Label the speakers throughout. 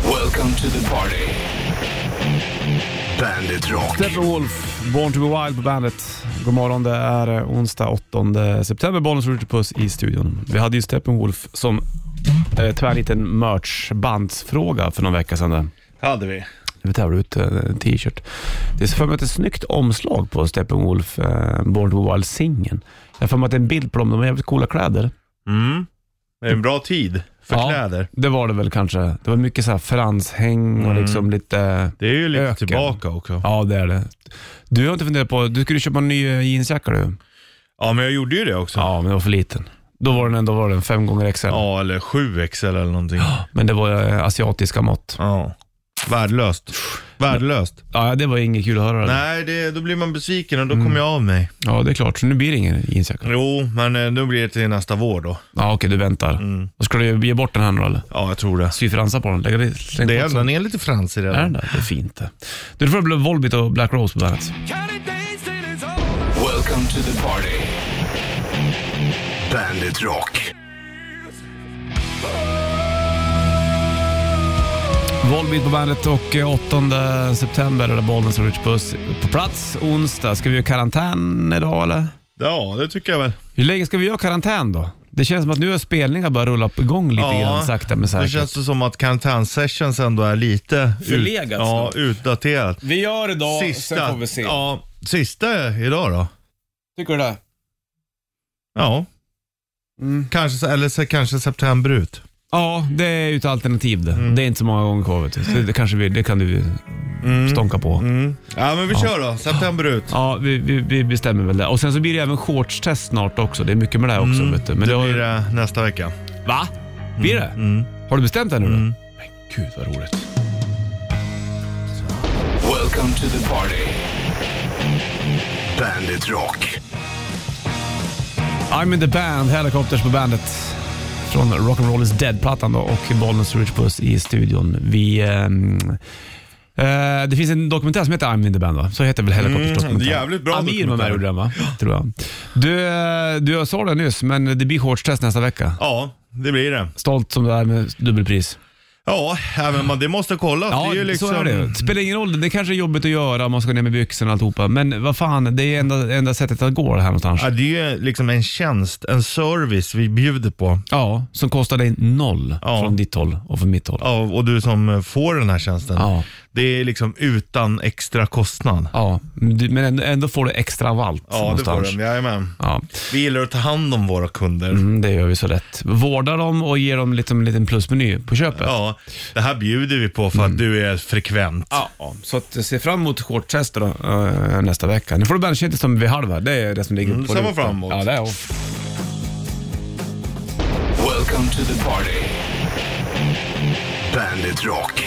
Speaker 1: Welcome to the party. Bandit Rock.
Speaker 2: Stephen Wolf, Born to be Wild på bandet. God morgon, det är eh, onsdag 8 september. Bollnäs Ritchie Puss i studion. Vi hade ju Steppenwolf som eh, tvärliten merchbandsfråga för någon vecka sedan. där.
Speaker 3: Hade vi.
Speaker 2: Vi tävlade ut eh, en t-shirt. Det är för mig att det är ett snyggt omslag på Steppenwolf, eh, Born to be Wild-singeln. Jag har för mig att det är en bild på dem, de har jävligt coola kläder.
Speaker 3: Mm. Det är en bra tid för
Speaker 2: Ja.
Speaker 3: kläder.
Speaker 2: Det var det väl kanske. Det var mycket så här franshäng och liksom lite...
Speaker 3: Det är ju lite
Speaker 2: Öken.
Speaker 3: tillbaka också. Ja.
Speaker 2: Ja, det är det. Du har inte funderat på, du skulle köpa en ny eh, jeansjacka du.
Speaker 3: men jag gjorde ju det också. Ja,
Speaker 2: Ja, men den var för liten. Då var den ändå var den fem gånger XL.
Speaker 3: eller 7XL eller någonting.
Speaker 2: Men det var eh, asiatiska mått.
Speaker 3: Ja. Värdelöst. Värdelöst.
Speaker 2: Ja, det var inget kul att höra.
Speaker 3: Nej, det, då blir man besviken och då
Speaker 2: Mm.
Speaker 3: kommer jag av mig.
Speaker 2: Ja, det är klart. Så nu blir det ingen jeansjacka.
Speaker 3: Jo, men eh, då blir det till nästa vår då.
Speaker 2: Ja, okej, du väntar.
Speaker 3: Mm.
Speaker 2: Och ska du ge bort den här nu eller?
Speaker 3: Ja, jag tror det.
Speaker 2: Sy fransar på den. Lägga det, släng
Speaker 3: Det
Speaker 2: på
Speaker 3: är,
Speaker 2: också.
Speaker 3: den är lite fransig
Speaker 2: Är den
Speaker 3: redan.
Speaker 2: där? Det är fint det. Du, då får det bli Volbeat och Black Rose på bandet.
Speaker 1: Welcome to the party. Bandit Rock.
Speaker 2: Volbeat på bandet och eh, 8 september är det Bollnäs och Rich Puss på plats. Onsdag. Ska vi göra karantän idag eller?
Speaker 3: Ja, det tycker jag väl.
Speaker 2: Hur länge ska vi göra karantän då? Det känns som att nu har spelningar börjat rulla upp igång lite
Speaker 3: Ja,
Speaker 2: grann sakta men
Speaker 3: Det
Speaker 2: säkert.
Speaker 3: känns det som att karantänsessions ändå är lite
Speaker 2: Förlegat,
Speaker 3: ja, utdaterat.
Speaker 2: Vi gör idag,
Speaker 3: Sista, Ja, sista idag då.
Speaker 2: Tycker du det?
Speaker 3: Ja. Kanske, så- eller så, kanske september ut.
Speaker 2: Ja, det är ju ett alternativ det.
Speaker 3: Mm.
Speaker 2: Det är inte så många gånger kvar vet du. Så det, kanske vi, det kan du stånka på.
Speaker 3: Mm. Ja men vi kör då, september ut.
Speaker 2: Ja, vi, vi, vi bestämmer väl det. Och sen så blir det även shortstest snart också. Det är mycket med det här också vet du. Men
Speaker 3: Mm. Det
Speaker 2: har ju-
Speaker 3: blir det Mm. nästa vecka.
Speaker 2: Va? Blir det? Har du bestämt det nu då?
Speaker 3: Mm.
Speaker 2: Men gud vad roligt.
Speaker 1: Welcome to the party. Bandit Rock.
Speaker 2: I'm in the band, Helicopters på bandet. Från Rock'n'Roll is Dead-plattan då och Bollnäs Rich Puss i studion. Vi... ehm, eh, det finns en dokumentär som heter I'm in the band va? Så heter väl Helicopters dokumentär?
Speaker 3: Mm, det är jävligt bra
Speaker 2: Amir var med och
Speaker 3: dokumentär.
Speaker 2: gjorde den va? Tror jag. Du, eh, du sa det nyss, men det blir shortstest nästa vecka.
Speaker 3: Ja, det blir det.
Speaker 2: Stolt som du är med dubbelpris.
Speaker 3: Ja, även man, det måste kollas.
Speaker 2: Ja,
Speaker 3: det är ju liksom,
Speaker 2: så är det. Spelar ingen roll, det kanske är jobbigt att göra om man ska ner med byxorna och alltihopa. Men vad fan, det är enda, enda sättet att gå det här någonstans.
Speaker 3: Ja, det är ju liksom en tjänst, en service vi bjuder på.
Speaker 2: Ja, som kostar dig noll
Speaker 3: Ja.
Speaker 2: från ditt håll och från mitt håll.
Speaker 3: Ja, och du som får den här tjänsten.
Speaker 2: Ja.
Speaker 3: Det är liksom utan extra kostnad.
Speaker 2: Ja, men du- men ändå- ändå får du extra av allt
Speaker 3: Ja, det
Speaker 2: någonstans.
Speaker 3: får den. Jajamän.
Speaker 2: Ja,
Speaker 3: Vi gillar att ta hand om våra kunder.
Speaker 2: mm, det gör vi så rätt. Vårda dem och ge dem liksom en liten plusmeny på köpet.
Speaker 3: Ja, det här bjuder vi på för att du är frekvent.
Speaker 2: Ja, ja. så att se fram emot shortstester då, eh, nästa vecka. Nu får du bandet som vid halva. Det är det som ligger
Speaker 3: Mm,
Speaker 2: på
Speaker 3: det ser
Speaker 2: rutan.
Speaker 3: man fram emot.
Speaker 2: Ja, det är jag.
Speaker 1: Welcome to the party. Bandit Rock.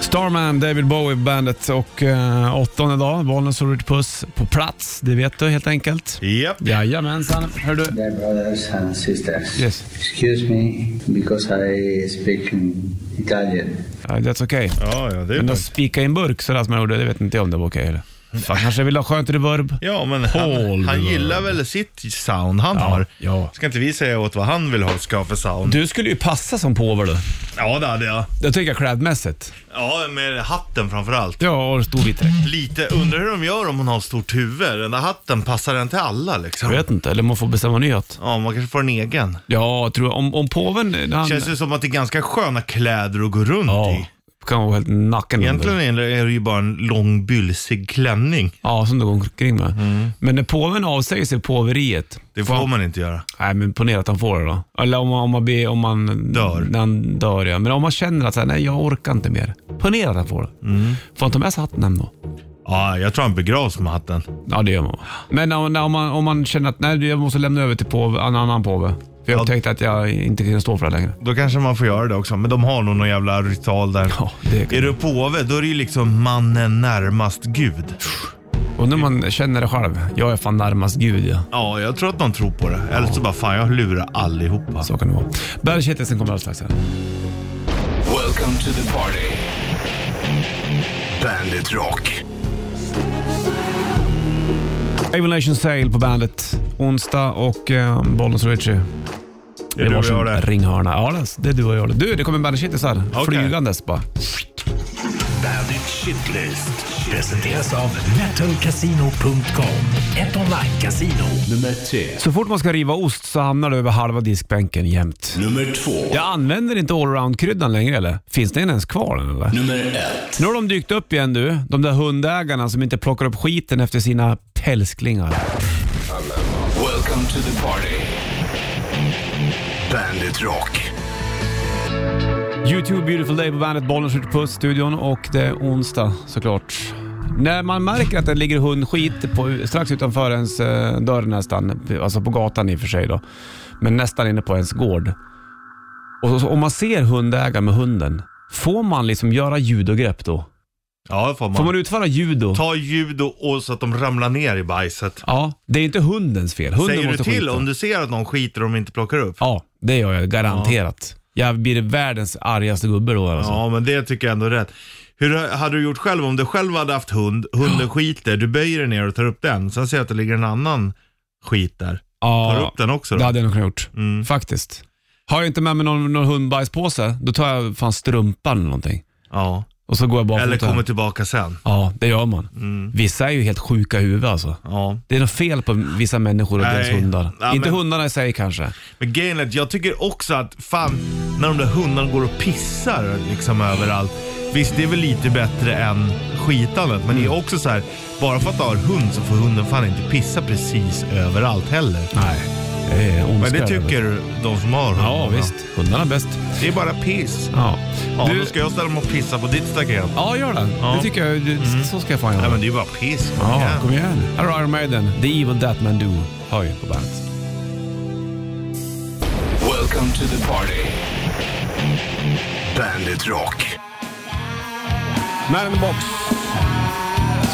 Speaker 2: Starman, David Bowie, bandet och eh, åttonde dag, Bollnäs och Ritchie Puss på plats. Det vet du helt enkelt.
Speaker 3: Japp.
Speaker 2: Jajamensan. Hör du?
Speaker 4: Dear brothers and sisters,
Speaker 2: Yes.
Speaker 4: excuse me because I speak in Italian.
Speaker 2: Ja, That's okay.
Speaker 3: Ja, ja, det är
Speaker 2: Men att
Speaker 3: lugnt.
Speaker 2: spika i en burk sådär som jag gjorde, det vet inte jag om det var okej eller. Fan, kanske vill ha skönt reverb.
Speaker 3: Ja, men han,
Speaker 2: Paul.
Speaker 3: han gillar väl sitt sound han har.
Speaker 2: ja.
Speaker 3: Ska inte vi säga åt vad han vill ha ska för sound?
Speaker 2: Du skulle ju passa som påver du.
Speaker 3: Ja, det hade jag.
Speaker 2: Jag tänker klädmässigt.
Speaker 3: Ja, med hatten framförallt.
Speaker 2: Ja, och stor vit dräkt.
Speaker 3: Lite, undrar hur de gör om hon har stort huvud. Den där hatten, passar den till alla liksom?
Speaker 2: Jag vet inte, eller man får bestämma nyhet.
Speaker 3: Ja, man kanske får en egen.
Speaker 2: Ja, jag tror om, om påven... när Han,
Speaker 3: Känns det som att det är ganska sköna kläder att gå runt
Speaker 2: ja,
Speaker 3: i.
Speaker 2: kan vara helt naken
Speaker 3: Egentligen
Speaker 2: under.
Speaker 3: är det är det ju bara en lång bylsig klänning.
Speaker 2: Ja, som du går omkring med.
Speaker 3: Mm.
Speaker 2: Men när påven avsäger sig påveriet.
Speaker 3: Det får man inte göra.
Speaker 2: Nej, men ponera att han får det då. Eller om, man- om man, blir, om man
Speaker 3: Dör.
Speaker 2: När han dör, ja. Men om man känner att så här, nej, jag orkar inte mer. Ponera att han får det.
Speaker 3: Mm.
Speaker 2: Får han ta med sig hatten hem då?
Speaker 3: Ja, jag tror han begravs med hatten.
Speaker 2: Ja, det gör man. Men om, när- om, man, om man känner att nej, jag måste lämna över till påve, en annan påve. För jag
Speaker 3: Ja.
Speaker 2: upptäckte att jag inte kan stå för det längre.
Speaker 3: Då kanske man får göra det också. Men de har nog någon jävla ritual där.
Speaker 2: Ja, det kan-
Speaker 3: Är du påve, då är det ju liksom mannen närmast Gud.
Speaker 2: Och när man känner det själv. Jag är fan närmast Gud ja.
Speaker 3: Ja, jag tror att man tror på det. Eller så bara, fan jag lurar allihopa.
Speaker 2: Så kan det vara. Bergkittelsen kommer alldeles strax. här.
Speaker 1: Welcome to the party. Bandit Rock.
Speaker 2: Able Nation Sale på bandet. Onsdag och eh, Bollnäs och Ritchie.
Speaker 3: är du och
Speaker 2: varsin
Speaker 3: jag det.
Speaker 2: ringhörna. Ja, det- det är du och jag det. Du, det kommer bandagekittisar okay. flygandes bara.
Speaker 5: Bandit Shitlist presenteras av metalcasino.com. Ett online-casino.
Speaker 1: Nummer tre.
Speaker 2: Så fort man ska riva ost så hamnar du över halva diskbänken jämt.
Speaker 1: Nummer två.
Speaker 2: Jag använder inte allround-kryddan längre eller? Finns den ens kvar än, eller?
Speaker 1: Nummer ett.
Speaker 2: Nu har de dykt upp igen du. De där hundägarna som inte plockar upp skiten efter sina pälsklingar.
Speaker 1: Welcome to the party. Bandit Rock.
Speaker 2: YouTube Beautiful Day på bandet, bollen skjuter puss, studion och det är onsdag såklart. När man märker att det ligger hundskit på, strax utanför ens eh, dörr nästan, alltså på gatan i och för sig då, men nästan inne på ens gård. Och så, om man ser hundägaren med hunden, får man liksom göra judogrepp då?
Speaker 3: Ja, det får man.
Speaker 2: Får man utföra judo?
Speaker 3: Ta judo och så att de ramlar ner i bajset.
Speaker 2: Ja, det är inte hundens fel. Hunden
Speaker 3: Säger du
Speaker 2: måste
Speaker 3: till
Speaker 2: skita.
Speaker 3: om du ser att någon skiter och de inte plockar upp?
Speaker 2: Ja, det gör jag garanterat. Jag blir världens argaste gubbe då alltså.
Speaker 3: Ja, men det tycker jag ändå är rätt. Hur hade du gjort själv om du själv hade haft hund, hunden skiter, du böjer dig ner och tar upp den, sen ser jag att det ligger en annan skit där.
Speaker 2: Ja.
Speaker 3: Tar du upp den också då? Mm.
Speaker 2: Det hade jag nog kunnat gjort. Faktiskt. Har jag inte med mig någon, någon hundbajspåse, då tar jag fan strumpan eller någonting.
Speaker 3: Ja.
Speaker 2: Och så går jag bara
Speaker 3: Eller
Speaker 2: fota.
Speaker 3: kommer Mm. tillbaka sen.
Speaker 2: Ja, det gör man. Vissa är ju helt sjuka i huvudet alltså.
Speaker 3: Ja.
Speaker 2: Det är något fel på vissa människor och
Speaker 3: Nej.
Speaker 2: deras hundar.
Speaker 3: Ja,
Speaker 2: inte
Speaker 3: men-
Speaker 2: hundarna i sig kanske.
Speaker 3: Men grejen är att jag tycker också att fan, när de där hundarna går och pissar liksom överallt. Visst, det är väl lite bättre än skitandet, men
Speaker 2: Mm.
Speaker 3: det är också så här, bara för att du har hund så får hunden fan inte pissa precis överallt heller.
Speaker 2: Nej, det är ondska.
Speaker 3: Men det
Speaker 2: eller?
Speaker 3: tycker de som har hund.
Speaker 2: Ja, visst. Hundarna är bäst.
Speaker 3: Det är bara piss.
Speaker 2: Ja,
Speaker 3: Ja,
Speaker 2: du...
Speaker 3: då ska jag ställa mig och pissa på ditt staket.
Speaker 2: ja gör det.
Speaker 3: Ja.
Speaker 2: Det tycker jag. det- Så ska jag fan göra.
Speaker 3: Nej men det är ju bara piss.
Speaker 2: Ja,
Speaker 3: Ja.
Speaker 2: kom igen. Här har Iron Maiden, The Evil That Man Do, hör ju på bandet.
Speaker 1: Welcome to the party. Bandit Rock.
Speaker 2: Man in the box.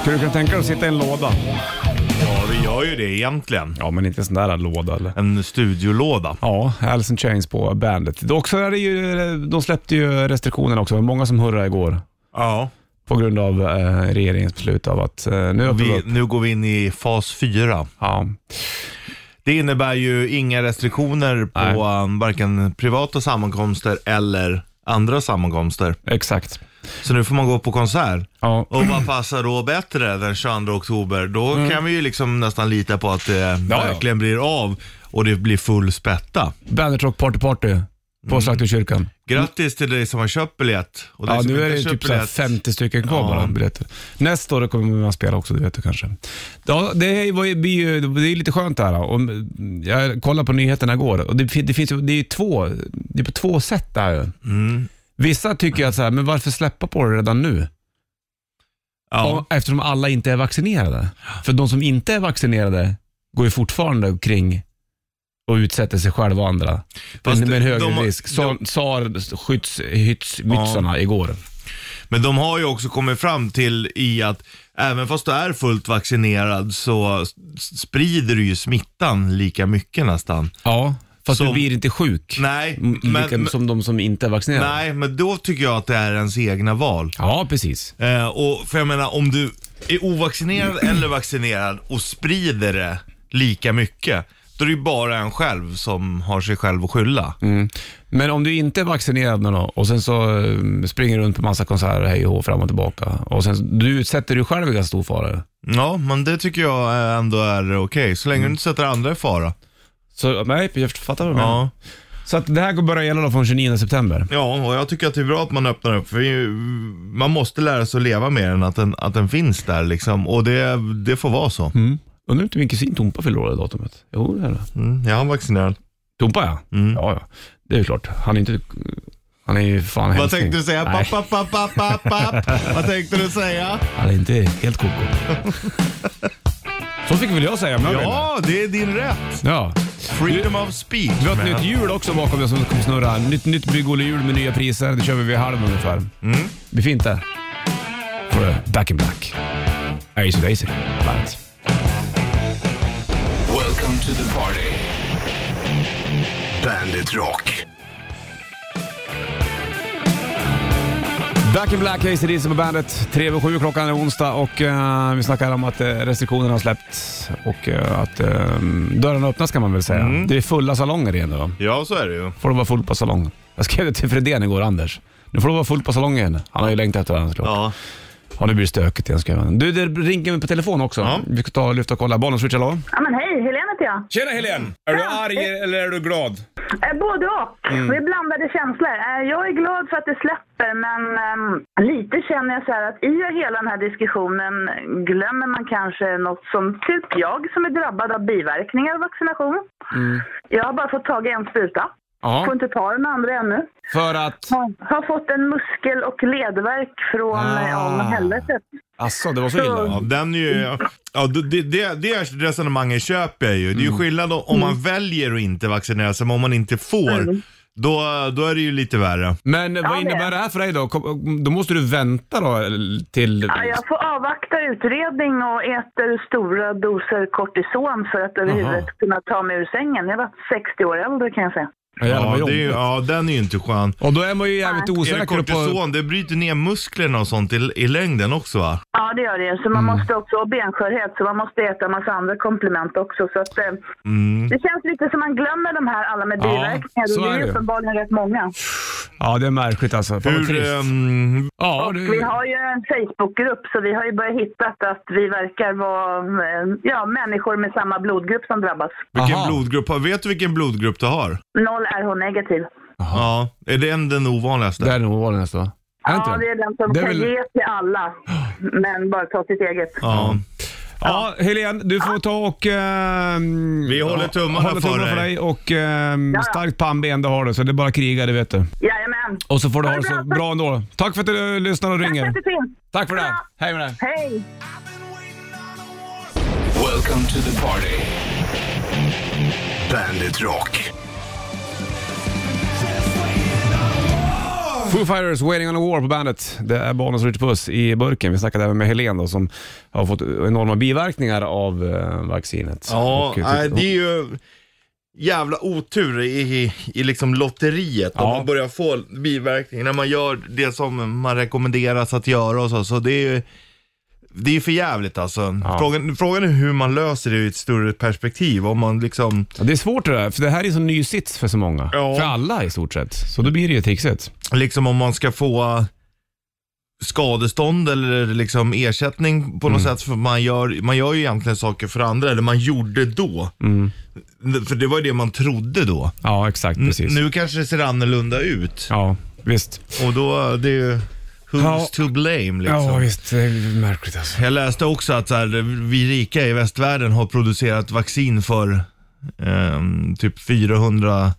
Speaker 2: Skulle du kunna tänka dig att sitta i en låda?
Speaker 3: ja, vi gör ju det egentligen.
Speaker 2: Ja, men inte en sån där låda eller?
Speaker 3: En studiolåda.
Speaker 2: Ja, Alice in Chains på bandet. Det också är det ju, de släppte ju restriktionerna också. Det var många som hurrade igår
Speaker 3: Ja.
Speaker 2: på grund av eh, regeringens beslut av att eh, nu öppnar vi
Speaker 3: Vi,
Speaker 2: upp.
Speaker 3: nu går vi in i fas 4.
Speaker 2: Ja.
Speaker 3: Det innebär ju inga restriktioner på
Speaker 2: Nej.
Speaker 3: um, varken privata sammankomster eller andra sammankomster.
Speaker 2: Exakt.
Speaker 3: Så nu får man gå på konsert.
Speaker 2: Ja.
Speaker 3: Och vad passar då bättre den 22 oktober? Då kan vi ju liksom nästan lita på att det
Speaker 2: Mm. ja.
Speaker 3: verkligen blir av och det blir full spätta.
Speaker 2: Bandet Rock Party Party på Slakterkyrkan.
Speaker 3: Grattis till dig som har köpt biljett. Och dig
Speaker 2: Ja,
Speaker 3: som
Speaker 2: nu
Speaker 3: inte
Speaker 2: är det ju
Speaker 3: köpt
Speaker 2: typ så här
Speaker 3: biljett.
Speaker 2: 50 stycken kvar bara biljetter. Nästa år kommer man spela också, det vet du kanske. Ja, det, var ju, blir ju, det är lite skönt det här. Och jag kollade på nyheterna igår och det, fin- det finns ju, det är ju två, det är på två sätt där ju.
Speaker 3: Mm.
Speaker 2: Vissa tycker att så här, men varför släppa på det redan nu?
Speaker 3: Ja.
Speaker 2: Och- Eftersom alla inte är vaccinerade. För de som inte är vaccinerade går ju fortfarande kring och utsätter sig själva och andra. Men
Speaker 3: Fast
Speaker 2: med en
Speaker 3: de-
Speaker 2: högre
Speaker 3: de-
Speaker 2: risk. Sa- SAR-skyddsmytsarna igår.
Speaker 3: Men de har ju också kommit fram till i att även fast du är fullt vaccinerad så s- sprider du ju smittan lika mycket nästan.
Speaker 2: Ja, fast
Speaker 3: Som-
Speaker 2: du blir inte sjuk.
Speaker 3: Nej,
Speaker 2: M-
Speaker 3: men-
Speaker 2: lika
Speaker 3: men-
Speaker 2: Mm, som de som inte är vaccinerade.
Speaker 3: Nej, men då tycker jag att det är ens egna val.
Speaker 2: Ja, precis.
Speaker 3: Eh, och för jag menar, om du är ovaccinerad eller vaccinerad och sprider det lika mycket, då är det ju bara en själv som har sig själv att skylla.
Speaker 2: Mm. Men om du inte är vaccinerad nu då, och sen så eh, springer du runt på massa konserter hej och hå, fram och tillbaka. Och sen, du utsätter dig själv i ganska stor fara.
Speaker 3: Ja, men det tycker jag eh, ändå är okej, så länge
Speaker 2: Mm.
Speaker 3: du inte sätter andra i fara.
Speaker 2: Så, nej, jag fattar vad du menar.
Speaker 3: Ja.
Speaker 2: Så att det här går börja gälla då från 29 september.
Speaker 3: ja, och jag tycker att det är bra att man öppnar upp, för det är ju- man måste lära sig att leva med den, att den, att den finns där liksom. Och det, det får vara så.
Speaker 2: Mm. Undrar inte min kusin Tompa fyller år det datumet? Jo, det är det.
Speaker 3: Mm, jag är vaccinerad.
Speaker 2: Tompa ja.
Speaker 3: Mm.
Speaker 2: Ja, ja. Det är ju klart. Han är inte... Han är ju fan
Speaker 3: Vad
Speaker 2: hälsning.
Speaker 3: tänkte du säga?
Speaker 2: Nej,
Speaker 3: Papp, papp, papp, papp, papp, papp. Vad tänkte du säga?
Speaker 2: han är inte helt koko. så fick väl jag säga om jag vill.
Speaker 3: Ja, det är din rätt.
Speaker 2: Ja.
Speaker 3: Freedom of speech.
Speaker 2: Vi har ett
Speaker 3: man.
Speaker 2: nytt hjul också bakom det som kommer snurra. Nytt, nytt bygg-Olle-hjul med nya priser. Det kör vi vid halv ungefär. Mm. Blir fint det. Får du Back in Black. Easy Daisy. Bandet.
Speaker 1: Welcome to the party. Bandit Rock.
Speaker 2: Back in Black, ACDC på bandet. 3 över 7 klockan är onsdag och eh, vi snackar om att eh, restriktionerna har släppts och eh, att eh, dörrarna öppnas kan man väl säga. Det är fulla salonger igen nu då.
Speaker 3: Ja, så är det ju.
Speaker 2: Får det vara fullt på salong. Jag skrev det till Fredén igår, Anders. Nu får det vara fullt på salongen. Han har ju längtat efter det här såklart.
Speaker 3: Ja.
Speaker 2: Ja, nu blir det stökigt igen skrev han. Du, det ringer mig på telefon också.
Speaker 3: Ja.
Speaker 2: Vi ska ta och lyfta och kolla. Bollen switch, hallå?
Speaker 6: Ja, men hej, Helene heter jag.
Speaker 2: Tjena Helen! Är du arg eller är du glad?
Speaker 6: Eh, Både och.
Speaker 2: Mm.
Speaker 6: Det är blandade känslor. Eh, Jag är glad för att det släpper, men ehm, lite känner jag så här att i hela den här diskussionen glömmer man kanske något som typ jag som är drabbad av biverkningar av vaccination. Jag har bara fått tag i en spruta.
Speaker 2: Mm. Ja,
Speaker 6: Får inte ta den andra ännu.
Speaker 2: för att...
Speaker 6: Har- Har fått en muskel och ledvärk från
Speaker 2: Ah.
Speaker 6: ah. helvetet.
Speaker 2: Asså, det var så illa?
Speaker 3: Ja, den är ju, ja, det, det, det resonemanget köper jag ju. Det är
Speaker 2: Mm.
Speaker 3: ju skillnad om om man väljer att inte vaccinera sig, men om man inte får, då, då är det ju lite värre.
Speaker 2: Men
Speaker 6: Ja,
Speaker 2: vad
Speaker 6: det.
Speaker 2: innebär det här för dig då? Kom- Då måste du vänta då eh, till...
Speaker 6: Ja, jag får avvakta utredning och äter stora doser kortison för att överhuvudtaget kunna ta mig ur sängen. Jag var 60 år äldre kan jag säga.
Speaker 2: Ja, jävlar, vad
Speaker 3: Ja, det är ju,
Speaker 2: jobbigt.
Speaker 3: ja den är ju inte skön.
Speaker 2: Och då är man ju jävligt
Speaker 3: Är det
Speaker 2: osäker på...
Speaker 3: kortison, det bryter ner musklerna och sånt i, i längden också va?
Speaker 6: Ja, det gör det ju. Så
Speaker 2: Mm.
Speaker 6: man måste också ha benskörhet, så man måste äta en massa andra komplement också. Så att, eh, Det känns lite som man glömmer de här alla med
Speaker 2: Mm. Ja,
Speaker 6: biverkningar.
Speaker 2: så
Speaker 6: och
Speaker 2: är
Speaker 6: det
Speaker 2: det
Speaker 6: är
Speaker 2: ju.
Speaker 6: uppenbarligen rätt många.
Speaker 2: Ja, det är märkligt alltså. Fan vad
Speaker 3: Hur,
Speaker 2: trist.
Speaker 3: ehm,
Speaker 2: Ja,
Speaker 6: Och
Speaker 2: det...
Speaker 6: vi har ju en Facebookgrupp, så vi har ju börjat hitta att vi verkar vara eh, ja, människor med samma blodgrupp som drabbas.
Speaker 3: vilken
Speaker 2: Aha.
Speaker 3: blodgrupp har, vet du vilken blodgrupp du har?
Speaker 6: Noll RH-negativ.
Speaker 3: Ja, är den den ovanligaste?
Speaker 2: Det är nog var det nästa va? Är inte
Speaker 6: Ja, det är den som
Speaker 2: Det är
Speaker 6: kan
Speaker 2: väl-
Speaker 6: ge till alla, men bara ta sitt eget.
Speaker 3: Ja.
Speaker 2: Ja, Helene, du får ta och... ehm,
Speaker 3: Vi håller tummarna
Speaker 2: håller
Speaker 3: för
Speaker 2: tummarna
Speaker 3: dig.
Speaker 2: för dig. Och ehm, starkt pannben du har du, så det är bara att kriga, det vet du.
Speaker 6: Jajamän.
Speaker 2: Och så får du ha
Speaker 6: Ha
Speaker 2: det
Speaker 6: det
Speaker 2: så
Speaker 6: bra.
Speaker 2: bra ändå. Tack för att du eh, lyssnar och
Speaker 6: Tack för
Speaker 2: ringer.
Speaker 6: att du finns.
Speaker 2: Tack för det.
Speaker 6: Ja.
Speaker 2: Hej med dig.
Speaker 6: Hej.
Speaker 1: Welcome to the party. Bandit Rock.
Speaker 2: Foo Fighters, Waiting on a War på bandet. Det är Bonus Richard Puss i burken. Vi snackade även med Helene då, som har fått enorma biverkningar av eh, vaccinet.
Speaker 3: Ja,
Speaker 2: Och, eh,
Speaker 3: nej, det är ju jävla otur i, i, i liksom lotteriet om
Speaker 2: Ja.
Speaker 3: man börjar få biverkningar när man gör det som man rekommenderas att göra och så. Så det är ju det är för jävligt alltså.
Speaker 2: Ja.
Speaker 3: Frågan, frågan är hur man löser det ur ett större perspektiv. Om man liksom,
Speaker 2: det är svårt det där, för det här är en sån ny sits för så många.
Speaker 3: Ja.
Speaker 2: För alla i stort sett. Så då blir det ju trixigt.
Speaker 3: liksom om man ska få skadestånd eller liksom ersättning på något
Speaker 2: Mm.
Speaker 3: sätt. För man, gör, man gör ju egentligen saker för andra, eller man gjorde då.
Speaker 2: Mm.
Speaker 3: För det var ju det man trodde då.
Speaker 2: Ja, exakt.
Speaker 3: N-
Speaker 2: Precis.
Speaker 3: Nu kanske det ser annorlunda ut.
Speaker 2: Ja, visst.
Speaker 3: Och då, det är ju who's
Speaker 2: Ja.
Speaker 3: to blame liksom.
Speaker 2: visst. Det är märkligt alltså.
Speaker 3: Jag läste också att så här, vi rika i västvärlden har producerat vaccin för ehm, typ 400,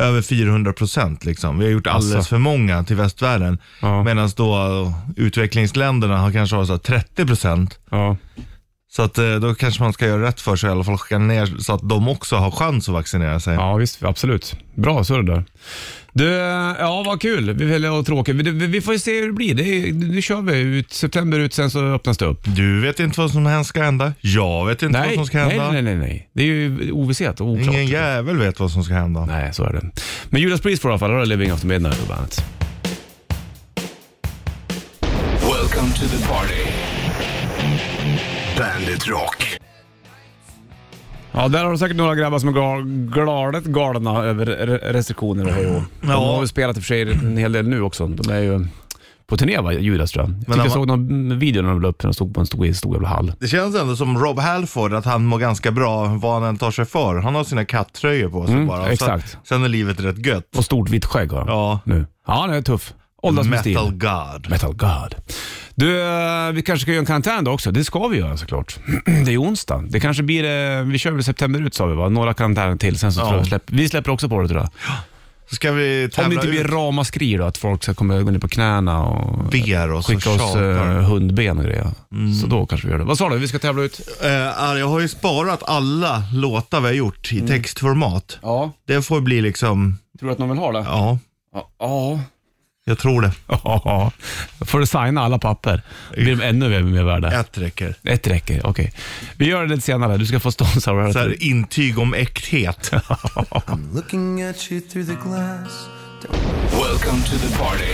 Speaker 3: över 400 procent liksom. Vi har gjort alldeles
Speaker 2: Alltså.
Speaker 3: för många till västvärlden.
Speaker 2: Ja.
Speaker 3: Medan då eh, utvecklingsländerna har kanske har så här 30 procent.
Speaker 2: Ja.
Speaker 3: Så att eh, då kanske man ska göra rätt för sig i alla fall skicka ner så att de också har chans att vaccinera sig.
Speaker 2: ja, visst. Absolut. Bra, så är det där. Du, eh, ja vad kul. Vi väljer att tråkigt. Vi, vi- vi får ju se hur det blir. Det är, nu kör vi ut september ut, sen så öppnas det upp.
Speaker 3: Du vet inte vad som ska hända. Jag vet inte vad som ska
Speaker 2: nej,
Speaker 3: hända.
Speaker 2: nej, nej, nej. Det är ju ovisshet och oklart.
Speaker 3: Ingen jävel vet vad som ska hända.
Speaker 2: Nej, så är det. Men Judas Priest får i alla fall. Här har Living After Midnight på bandet.
Speaker 1: Welcome to the party. Bandit Rock.
Speaker 2: Ja, där har du säkert några grabbar som är gal- gladet galna över re- restriktioner och hej och hå. De
Speaker 3: Mm. Ja.
Speaker 2: har ju spelat i och för sig en hel del nu också. De är ju på turné va, Judas tror jag. Jag tyckte
Speaker 3: han
Speaker 2: jag
Speaker 3: var-
Speaker 2: såg någon video när de la upp när de stod på en stor, stor jävla hall.
Speaker 3: Det känns ändå som Rob Halford, att han mår ganska bra vad han än tar sig för. Han har sina kattröjor på sig
Speaker 2: Mm,
Speaker 3: bara. Och
Speaker 2: exakt.
Speaker 3: Sen, sen är livet rätt gött.
Speaker 2: Och stort vitt skägg har han.
Speaker 3: Ja.
Speaker 2: Nu. Ja, han är tuff. Åldras med stil.
Speaker 3: Metal God.
Speaker 2: Metal God. Du, eh, vi kanske ska göra en karantän då också. Det ska vi göra såklart. Det är onsdag. Det kanske blir, eh, vi kör väl september ut sa vi va? Några karantäner till, sen så
Speaker 3: Ja.
Speaker 2: tror jag släpp, vi släpper också på det tror jag.
Speaker 3: Så ska
Speaker 2: Om
Speaker 3: vi
Speaker 2: det
Speaker 3: tävla
Speaker 2: inte blir
Speaker 3: ut
Speaker 2: ramaskri då, att folk ska komma gå ner på knäna och
Speaker 3: ber oss och
Speaker 2: skicka oss eh,
Speaker 3: tjatar.
Speaker 2: hundben och grejer. Så då kanske vi gör det. Vad sa du? Vi ska tävla ut?
Speaker 3: Eh, jag har ju sparat alla låtar vi har gjort
Speaker 2: Mm.
Speaker 3: i textformat.
Speaker 2: Ja.
Speaker 3: Det får bli liksom,
Speaker 2: Tror du att någon vill ha det?
Speaker 3: ja,
Speaker 2: Ja.
Speaker 3: jag tror det.
Speaker 2: Ja. Får du signa alla papper? Blir de ännu mer, mer värda?
Speaker 3: Ett räcker.
Speaker 2: Ett räcker, okej. Vi gör det lite senare. Du ska få Stones Hour.
Speaker 3: Så här, intyg om äkthet.
Speaker 7: Looking at you through the glass.
Speaker 1: Welcome to the party.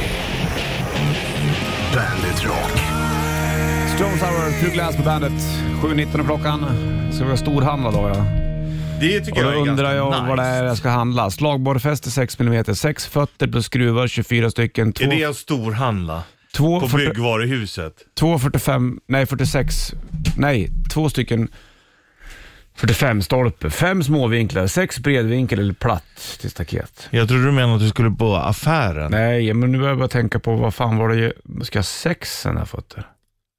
Speaker 1: rock.
Speaker 2: Stones Hour, Through Glass på bandet. 7.19 klockan. Ska vi storhandla då ja.
Speaker 3: Det tycker
Speaker 2: Och då
Speaker 3: jag är
Speaker 2: undrar
Speaker 3: ganska
Speaker 2: jag
Speaker 3: nice.
Speaker 2: vad det är jag ska handla. Slagborrfäste 6 mm, 6 fötter plus skruvar 24 stycken. Två,
Speaker 3: Är det en storhandla?
Speaker 2: två,
Speaker 3: På
Speaker 2: 40,
Speaker 3: byggvaruhuset?
Speaker 2: två 45, nej 46, nej två stycken 45 stolpe, fem småvinklar, sex bredvinkel eller platt till staket.
Speaker 3: Jag trodde du menade att du skulle på affären.
Speaker 2: Nej, men nu börjar jag bara tänka på vad fan var det, ju- ska jag ha sex sådana fötter?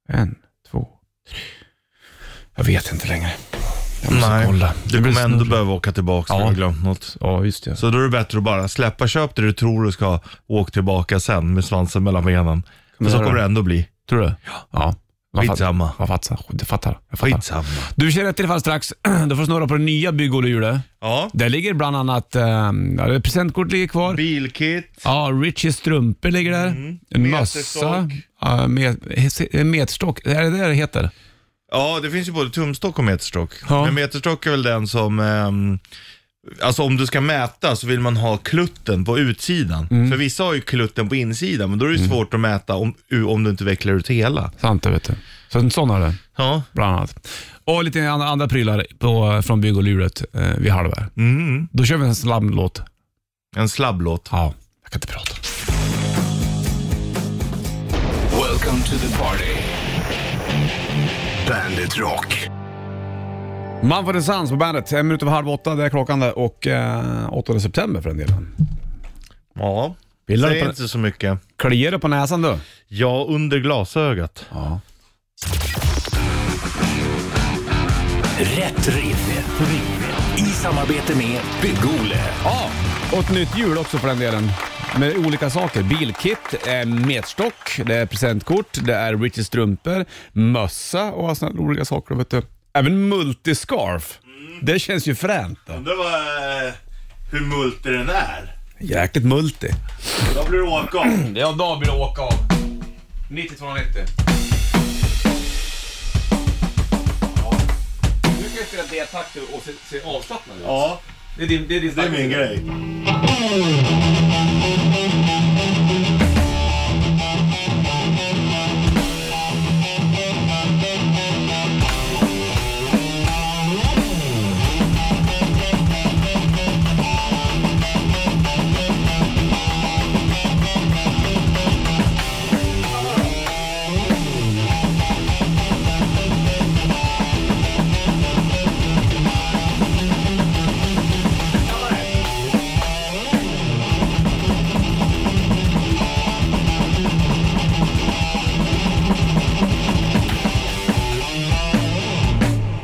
Speaker 2: En, två, tre. Jag vet inte längre. Jag måste kolla. Det
Speaker 3: Du
Speaker 2: blir
Speaker 3: kommer ändå
Speaker 2: snurrigt.
Speaker 3: behöva åka tillbaka om
Speaker 2: Ja.
Speaker 3: du har glömt något.
Speaker 2: Ja, just det.
Speaker 3: Så då är det bättre att bara släppa, köp det du tror du ska ha, åk tillbaka sen med svansen mellan benen. Men så
Speaker 2: göra
Speaker 3: kommer
Speaker 2: det?
Speaker 3: det ändå bli.
Speaker 2: Tror du? Ja. Jag fatt-
Speaker 3: Skitsamma.
Speaker 2: Jag fattar. Jag fattar. Jag fattar.
Speaker 3: Skitsamma.
Speaker 2: Du känner till i alla fall strax. Du får snurra på det nya byggoljehjulet.
Speaker 3: Ja.
Speaker 2: Där ligger bland annat eh, ja, det- presentkort ligger kvar.
Speaker 3: Bilkit.
Speaker 2: Ja, Richies strumpor ligger där. En mössa.
Speaker 3: Meterstock.
Speaker 2: Ja, met, en metstock. Är det det det heter?
Speaker 3: Ja, det finns ju både tumstock och meterstock.
Speaker 2: Ja.
Speaker 3: Men meterstock är väl den som, ehm, alltså om du ska mäta så vill man ha klutten på utsidan.
Speaker 2: Mm.
Speaker 3: För vissa har ju klutten på insidan, men då är det ju svårt att mäta om, om du inte vecklar ut hela.
Speaker 2: Sant det vet du. Så en sån har du,
Speaker 3: Ja.
Speaker 2: bland annat. Och lite andra, andra prylar på, från byggoljehjulet eh, vid halv här.
Speaker 3: Mm.
Speaker 2: Då kör vi en slamlåt.
Speaker 3: En slabblåt.
Speaker 2: Ja, jag kan inte prata.
Speaker 1: Welcome to the party. Bandit Rock.
Speaker 2: Man får en sans på bandet. En minut över halv åtta, det är klockan där. Och eh, 8 september för den delen.
Speaker 3: Ja.
Speaker 2: Gillar du
Speaker 3: Säg
Speaker 2: på-
Speaker 3: inte så mycket.
Speaker 2: Kliar det på näsan du?
Speaker 3: Ja, under glasögat.
Speaker 2: Ja.
Speaker 5: Rätt riff. Rätt riff. I samarbete med Bygg-Ole.
Speaker 2: Ja, och ett nytt hjul också för den delen. Med olika saker. Bilkit, eh, metstock, det är presentkort, det är Richies strumpor, mössa och sådana olika saker. Vet du. Även multiscarf. Det känns ju fränt. Då.
Speaker 3: Undrar vad, eh, hur multer den är.
Speaker 2: Jäkligt multi.
Speaker 3: Då blir det åka av.
Speaker 2: Ja, då blir det åka av. 9290. Du kan spela D-takt och se, se avslappnad ut.
Speaker 3: Ja,
Speaker 2: Det är din, det är din
Speaker 3: grej.